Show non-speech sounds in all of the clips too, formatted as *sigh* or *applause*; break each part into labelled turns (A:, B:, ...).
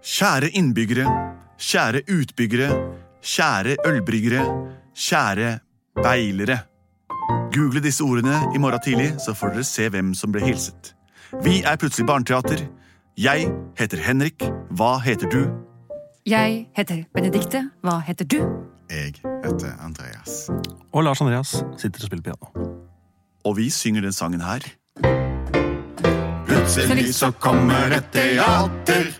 A: Kjære innbyggere, kjære utbyggere, kjære ølbryggere, kjære beilere. Google disse ordene i morgen tidlig, så får dere se hvem som ble hilset. Vi er Plutselig barneteater. Jeg heter Henrik. Hva heter du?
B: Jeg heter Benedikte. Hva heter du?
C: Jeg heter Andreas.
D: Og Lars Andreas sitter og spiller piano.
A: Og vi synger den sangen her.
C: Plutselig så kommer et teater.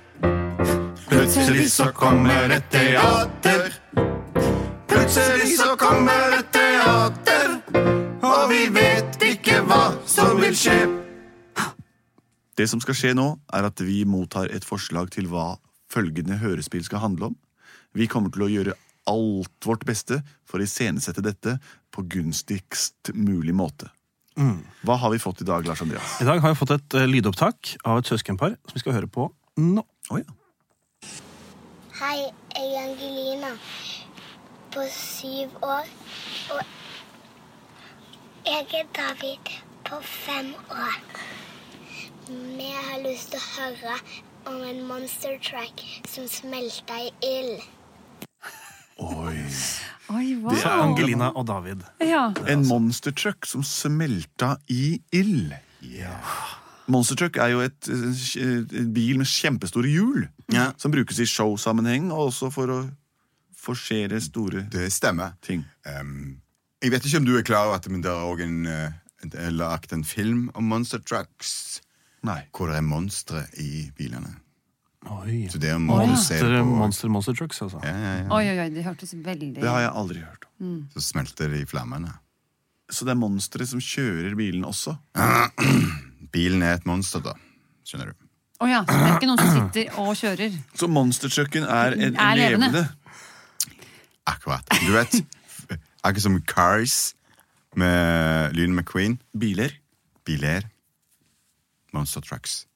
C: Plutselig så kommer et teater. Plutselig så kommer et teater. Og vi vet ikke hva som vil skje.
A: Det som skal skje nå, er at vi mottar et forslag til hva følgende hørespill skal handle om. Vi kommer til å gjøre alt vårt beste for å iscenesette dette på gunstigst mulig måte. Hva har vi fått i dag, Lars Andreas?
D: I dag har jeg fått et eh, lydopptak av et søskenpar som vi skal høre på nå.
A: Å ja.
E: Hei, jeg er Angelina på syv år. Og jeg er David på fem år. Vi har lyst til å høre om en monster truck som smelta i ild.
A: Oi.
B: Oi, wow.
A: Det er
D: Angelina og David.
B: Ja.
A: En monstertruck som smelta i ild. Monstertruck er jo et, eh, en bil med kjempestore hjul.
C: Ja.
A: Som brukes i showsammenheng og også for å forsere store
C: Det stemmer.
A: ting.
C: Ehm, jeg vet ikke om du er klar over at men det er også en, eh, det er lagt en film om monster trucks.
A: Nei.
C: Hvor det er monstre i bilene.
D: Oi.
C: Så det må du se
D: Monster,
C: på.
D: monster, monster trucks, altså.
C: Ja, ja, ja.
B: Oi, oi, oi, det hørtes veldig
A: Det har jeg aldri hørt om.
C: Så smelter det i flammene.
A: Så det er monstre som kjører bilen også.
C: Bilen er et monster, da. Skjønner du.
B: Å ja, så det er ikke noen som sitter og kjører.
A: Så monstertrucken er, en,
B: Er levende.
A: levende.
C: Akkurat. Du vet, *laughs* akkurat som Cars med Lyn McQueen.
A: Biler.
C: Biler. Monster trucks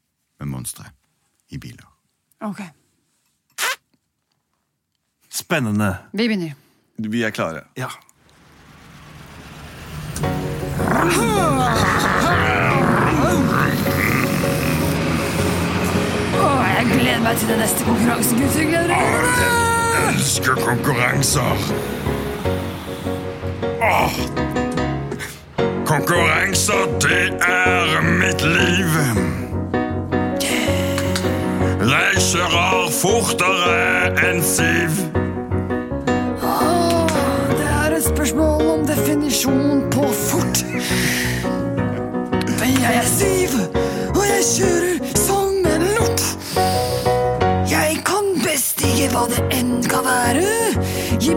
C: med monstre i biler.
B: Ok,
D: Spennende.
B: Vi begynner.
A: Vi er klare.
D: Ja.
B: Å, jeg gleder meg til den neste konkurransen, gutter. Gleder dere?
F: elsker konkurranser. Åh. Konkurranser, det er mitt liv. Reiserer fortere enn siv.
B: Det er et spørsmål om definisjon på fort. Men jeg er syv, og jeg kjører som en lort. Jeg kan best ikke hva det enn kan være. Gi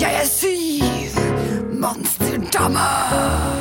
B: Jeg er syv. Monsterdama.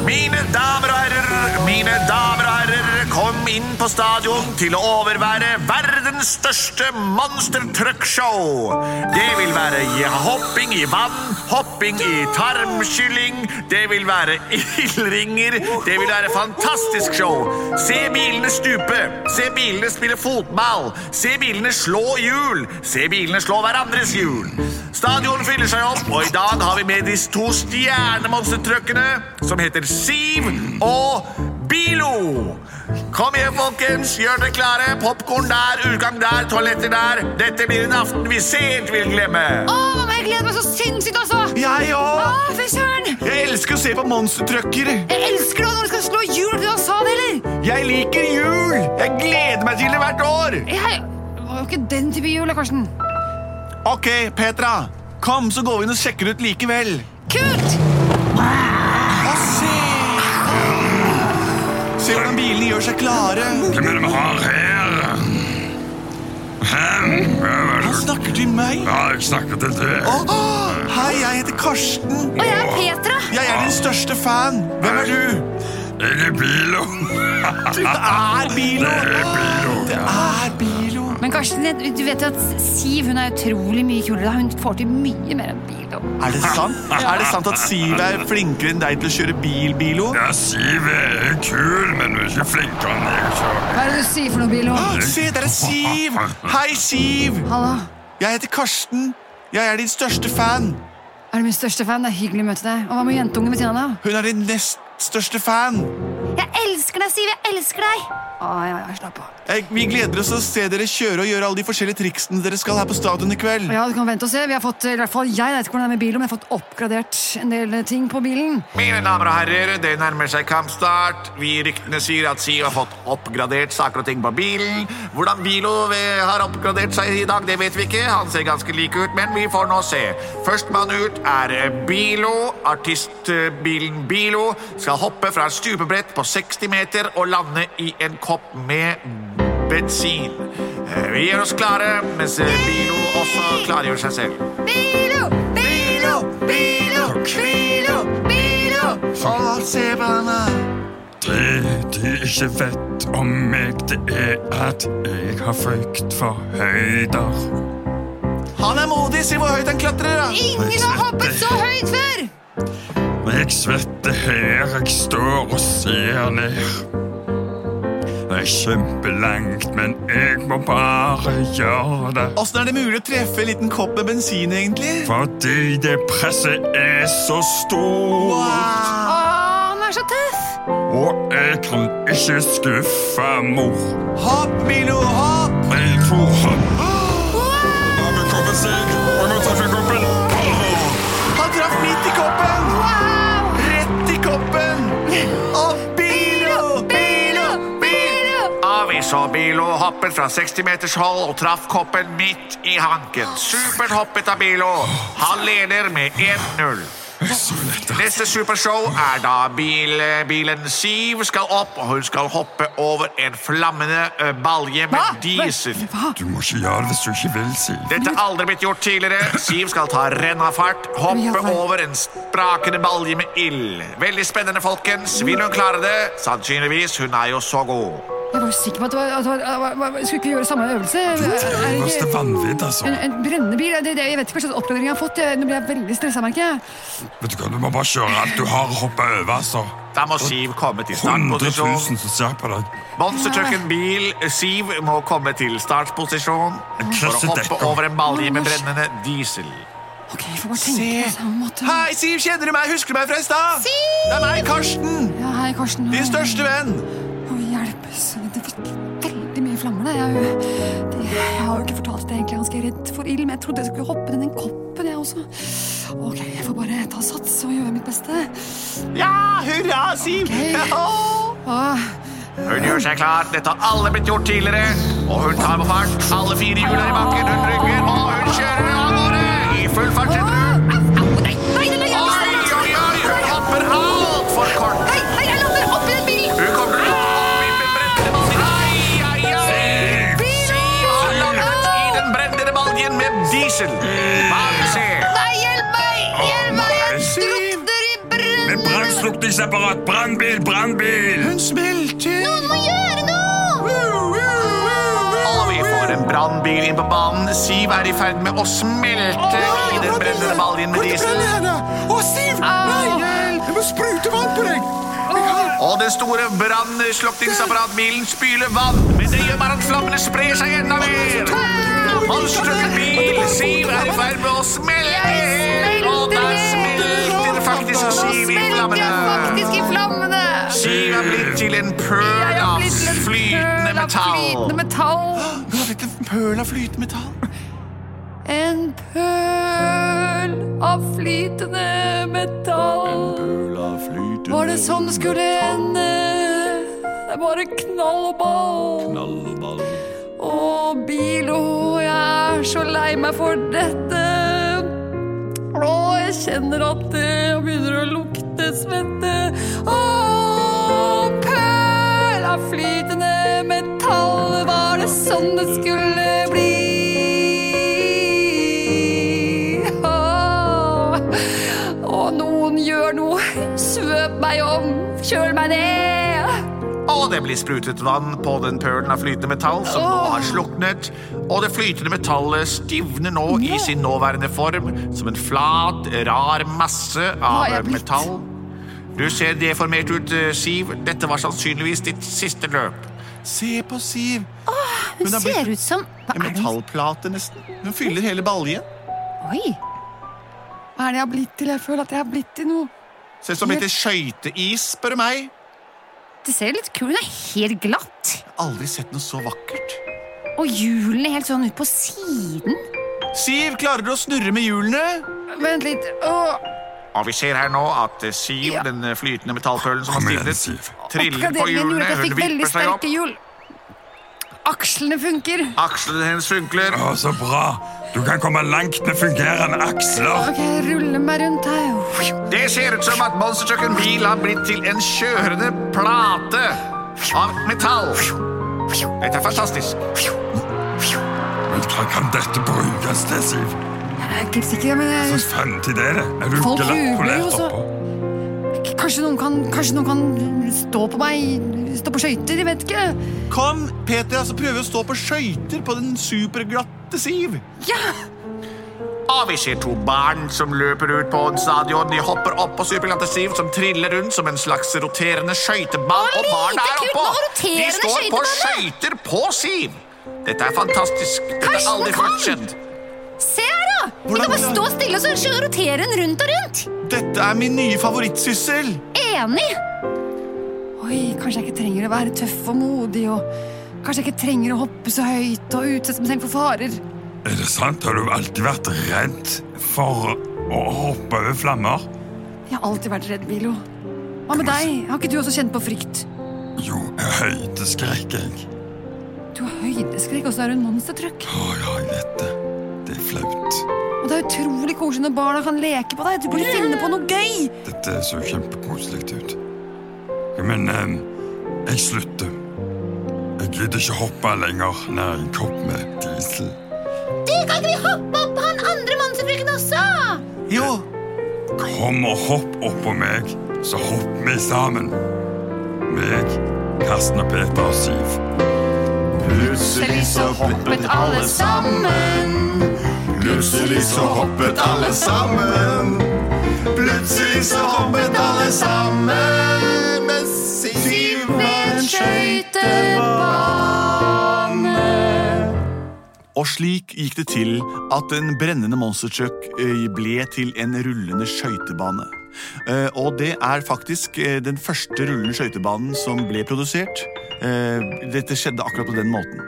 F: Mine damer og herrer, mine damer og herrer, kom inn på stadion til å overvære verdens største monstertruckshow. Det vil være i- hopping i vann, hopping i tarmkylling, det vil være ildringer, det vil være fantastisk show. Se bilene stupe, se bilene spille fotball, se bilene slå hjul, se bilene slå hverandres hjul. Stadion fyller seg opp, og i dag har vi med de to stjernemonstertrøkkene som heter Siv og Bilo. Kom igjen, folkens. Gjør dere klare. Popkorn der, utgang der, toaletter der. Dette blir en aften vi sent vil glemme.
B: jeg gleder meg så sinnssykt, altså!
A: Jeg òg!
B: Å, fy søren!
A: Jeg elsker å se på monstertrucker!
B: Jeg elsker det når du skal slå hjul til Hassan, eller?
A: Jeg liker jul! Jeg gleder meg til det hvert år!
B: Jeg det var jo ikke den type hjul, da, Karsten.
A: Ok, Petra. Kom, så går vi inn og sjekker ut likevel.
B: Kult!
A: Og se! Se hvordan bilene gjør seg klare.
F: Hvem er det vi har her? Hem, hvem er
A: Han
F: det?
A: snakker til meg.
F: Ja, jeg snakker til deg.
A: Å, hei, jeg heter Karsten.
B: Og jeg er Petra.
A: Jeg er din største fan. Hvem er du?
F: Jeg er Bilo.
A: Det er Bilo.
F: Det er Bilo.
A: Det er Bilo.
B: Men Karsten, jeg- du vet jo at Siv hun er utrolig mye kulere. da. Hun får til mye mer enn bil. og-
A: Er det sant? Er det sant at Siv er flinkere enn deg til å kjøre bil, Bilo?
F: Ja, Siv er kul, men hun er ikke flinkere enn jeg. Så.
A: Ah,
B: Hva er det du sier for noe, Bilo?
A: Se, der er Siv! Hei, Siv!
B: Hallo.
A: Jeg heter Karsten. Jeg er din største fan.
B: Er du min største fan? Det er hyggelig å møte deg. Og hva med jentungen ved siden av?
A: Hun er din nest største fan.
G: Jeg elsker deg, Siv! Jeg elsker deg!
B: Å, ja, ja, slapp av.
A: Jeg, vi gleder oss til å se dere kjøre og gjøre alle de forskjellige triksene dere skal her på stadion i kveld.
B: Ja, du kan vente og se. Vi har fått, eller i hvert fall jeg vet ikke hvordan det er med bilen, men jeg har fått oppgradert en del eh, ting på bilen.
F: Mine damer og herrer, det nærmer seg kampstart. Vi ryktene sier at Siv har fått oppgradert saker og ting på bilen. Hvordan Bilo eh, har oppgradert seg i dag, det vet vi ikke. Han ser ganske lik ut, men vi får nå se. Førstemann ut er eh, Bilo. Artistbilen Bilo skal hoppe fra et stupebrett på 60 meter og lande i en kopp med bensin. Eh, Vi gjør oss klare, mens eh, Bilo også klargjør seg selv.
G: Bilo! Bilo! Bilo! Bilo! Bilo!
A: Å, se på henne.
C: Det de ikke vet om meg, det er at jeg har frykt for høyder.
A: Han er modig. Se hvor høyt han klatrer. da.
G: Ingen har hoppet så høyt før!
C: Og jeg svetter her jeg står og ser ned. Det er kjempelangt, men jeg må bare gjøre det.
A: Åssen er det mulig å treffe en liten kopp med bensin, egentlig?
C: Fordi det presset er så stort.
G: Å,
A: Wow.
G: han er så tøff!
C: Og jeg kan ikke skuffe mor.
A: Hopp, Milo, hopp!
C: Jeg tror han Han vil komme seg, og nå treffer jeg koppen.
A: Han traff midt i koppen! Rett i *laughs* koppen! Og Bilo, Bilo, Bilo!
F: Ja, vi så Bilo hoppet fra 60 meters hold og traff koppen midt i hanken. Supert hoppet av Bilo. Han leder med 1-0. Neste supershow er da bil, bilen Siv skal opp, og hun skal hoppe over en flammende ø, balje med diesel.
C: Du må ikke gjøre det hvis du ikke vil, Siv.
F: Dette er aldri blitt gjort tidligere. Siv skal ta rennafart,
B: Ja,
F: hoppe
B: vel.
F: over en sprakende balje med ild. Veldig spennende, folkens. Vil hun klare det? Sannsynligvis. Hun er jo så god.
B: Jeg var jo sikker på at det var, at det var, at det var Skulle ikke gjøre samme øvelse. Er det
C: Øverste
B: ikke-
C: vanvidd, altså.
B: En, en brennebil? Det, det, jeg vet ikke hva slags oppgradering jeg har fått. Jeg- Nå blir jeg veldig stressa, merker jeg.
C: Vet du hva, du må bare kjøre alt du har og hoppe over, altså.
F: Da må Siv komme til
C: 100 000
F: startposisjon.
C: som ser på deg.
F: Monstertrucken bil Siv må komme til startposisjon for å
C: krasset
F: hoppe
C: dekk.
F: over en balje med brennende diesel.
B: Ok, jeg får bare tenke på samme måte.
A: Hei, Siv, kjenner du meg? Husker du meg fra i stad? Det er meg, Karsten.
B: Ja, hei, Karsten.
A: Din største venn.
B: Å, hjelp. sønn, Det fikk veldig mye flammer, det. Jeg, er jo- det. jeg har jo ikke fortalt det, egentlig. Jeg er ganske redd for ild, men jeg trodde jeg skulle hoppe ned den koppen, jeg også. Ok, jeg får bare ta sats og gjøre mitt beste.
A: Ja, hurra, Siv.
B: Åh,
F: Hun gjør seg klar. Dette har alle blitt gjort tidligere. Og hun tar på fart. Alle fire hjul er i bakken. Hun rygger, og hun kjører av gårde i full fart. setter hun.
G: Au, au, nei, nei, nei, jeg
F: Oi,
G: mister
F: oi, oi, hun hopper altfor kort.
G: Nei, nei, jeg lander opp i den bilen!
F: Hun kommer til å hoppe i den brennende baljen. Ai, ai, ai. Siv har landet i den brennende baljen med diesel. Bare se.
G: Nei, hjelp meg! Hjelp meg! Jeg
C: Siv!
G: drukner i brønnen!
C: Med brannslukningsapparat! Brannbil, brannbil!
A: Hun smelter.
G: Noen må gjøre noe!
F: Og vi får en brannbil inn på banen. Siv er i ferd med å smelte i den brennende baljen med diesel.
A: Å, Siv! Nei, jeg må sprute vann på deg.
F: Og den store brannslukningsapparatbilen spyler vann. Men det gjør bare at flammene sprer seg enda mer. Monstertrucken bil. Siv er i ferd med å smelte. helt, Og da smelter faktisk Siv i flammene.
G: faktisk i flammene!
F: Siv er blitt til en pøl
G: Jeg har
F: av
G: blitt til en
F: flytende
G: pøl av Flytende
F: metall.
G: metall.
A: Hun har blitt en pøl av flytende metall.
G: En pøl av flytende metall. Var det sånn det skulle ende? Det er bare knall og ball. Å, Bilo, jeg er så lei meg for dette. Å, jeg kjenner at det begynner å lukte svette. Å, pøl av flytende metall. Var det sånn det skulle bli? Å, å, noen gjør noe. Svøp meg om. Kjøl meg ned.
F: Og det blir sprutet vann på den pølen av flytende metall som nå har sluknet. Og det flytende metallet stivner nå i sin nåværende form som en flat, rar masse
G: har
F: av
G: jeg blitt?
F: metall. Du ser deformert ut, eh, Siv. Dette var sannsynligvis ditt siste løp.
A: Se på Siv.
H: Hun
A: Hun har blitt
H: ser ut som Hva
A: en
H: er det hun
A: metallplate, nesten. Hun fyller hele baljen.
H: Oi!
G: Hva er det jeg har blitt til? Jeg føler at jeg har blitt til noe.
A: Ser ut som litt skøyteis, spør du meg.
H: Det ser jo litt kul Hun er helt glatt.
A: Jeg har Aldri sett noe så vakkert.
H: Og hjulene helt sånn ut på siden.
A: Siv, klarer du å snurre med hjulene?
G: Vent litt. Åh,
F: Og vi ser her nå at eh, Siv,
G: Ja.
F: den eh, flytende metallpølen som har
C: Kom igjen,
F: stivnet,
C: Siv.
F: triller på
G: oppgraderingen gjorde
F: hjulene,
G: at jeg
F: hun
G: fikk veldig
F: vipper seg opp.
G: sterke hjul. Akslene funker.
F: Akslene hennes funkler.
C: Å, så bra! Du kan komme langt med fungerende aksler.
G: Ok, jeg ruller meg rundt her.
F: Det ser ut som at Monster Truck en bil har blitt til en kjørende plate av metall. Dette er fantastisk.
C: Men hva kan dette brukes til, Siv?
G: Jeg er ikke sikker, men
C: Hva
G: jeg,
C: fremtid er det? Er du
G: Folk jubler jo
C: glattpolert
G: så.
C: oppå?
G: kanskje, noen kan, kanskje noen kan stå på meg, stå på skøyter, jeg vet ikke.
A: Kom, Peter, altså prøve å stå på skøyter på den superglatte Siv.
F: Og vi ser to barn som løper ut på en stadion. De hopper opp på superglatte Siv, som triller rundt som en slags roterende skøytebane.
H: Å,
F: Og barna
H: lite
F: er
H: kult
F: oppå!
H: med roterende
F: De står på
H: skøytebane.
F: skøyter på Siv. Dette er fantastisk. Dette har
H: Karsten,
F: aldri
H: kom!
F: fått skjedd.
H: Se her, da! Vi
A: Hvordan-
H: kan bare stå stille og så rotere den rundt og rundt.
A: Dette er min nye favorittsyssel.
H: Enig!
G: Oi, kanskje jeg ikke trenger å være tøff og modig, og kanskje jeg ikke trenger å hoppe så høyt og utsette meg selv for farer.
C: Er det sant? Har du alltid vært redd for å hoppe over flammer?
G: Jeg har alltid vært redd, Milo. Hva med deg? Har ikke du også kjent på frykt?
C: Jo, jeg høydeskrekk, jeg.
G: Du har høydeskrekk, og så er du monstertruck.
C: Å ja, jeg vet det. Det er flaut.
G: Og det er utrolig koselig når barna kan leke på deg. Du burde finne på noe gøy.
C: Dette så kjempekoselig ut. Men eh, jeg slutter. Jeg gidder ikke hoppe lenger nær en kopp med diesel.
H: Du kan ikke vi hoppe opp på han andre monsterfrukken også?
A: Jo,
C: Kom og hopp oppå meg, så hopper vi sammen. Meg, Karsten og Peter og Siv.
A: Plutselig så hoppet alle sammen. Plutselig så hoppet alle sammen. Plutselig så hoppet alle sammen. Men Siv var en skøytebane. Og slik gikk det til at en brennende monstertruck eh, ble til en rullende skøytebane. Eh, Og det er faktisk eh, den første rullende skøytebanen som ble produsert. Eh, Dette skjedde akkurat på den måten.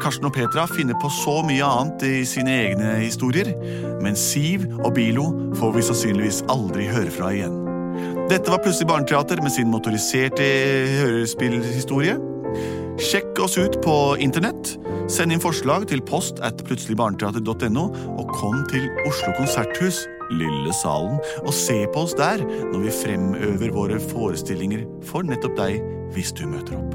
A: Karsten og Petra finner på så mye annet i sine egne historier, men Siv og Bilo får vi sannsynligvis aldri høre fra igjen. Dette var Plutselig barneteater med sin motoriserte eh, hørespillhistorie. Sjekk oss ut på internett. Send inn forslag til post at plutseligbarneteater.no, og kom til Oslo Konserthus, Lille Salen, og se på oss der når vi fremøver våre forestillinger for nettopp deg, hvis du møter opp.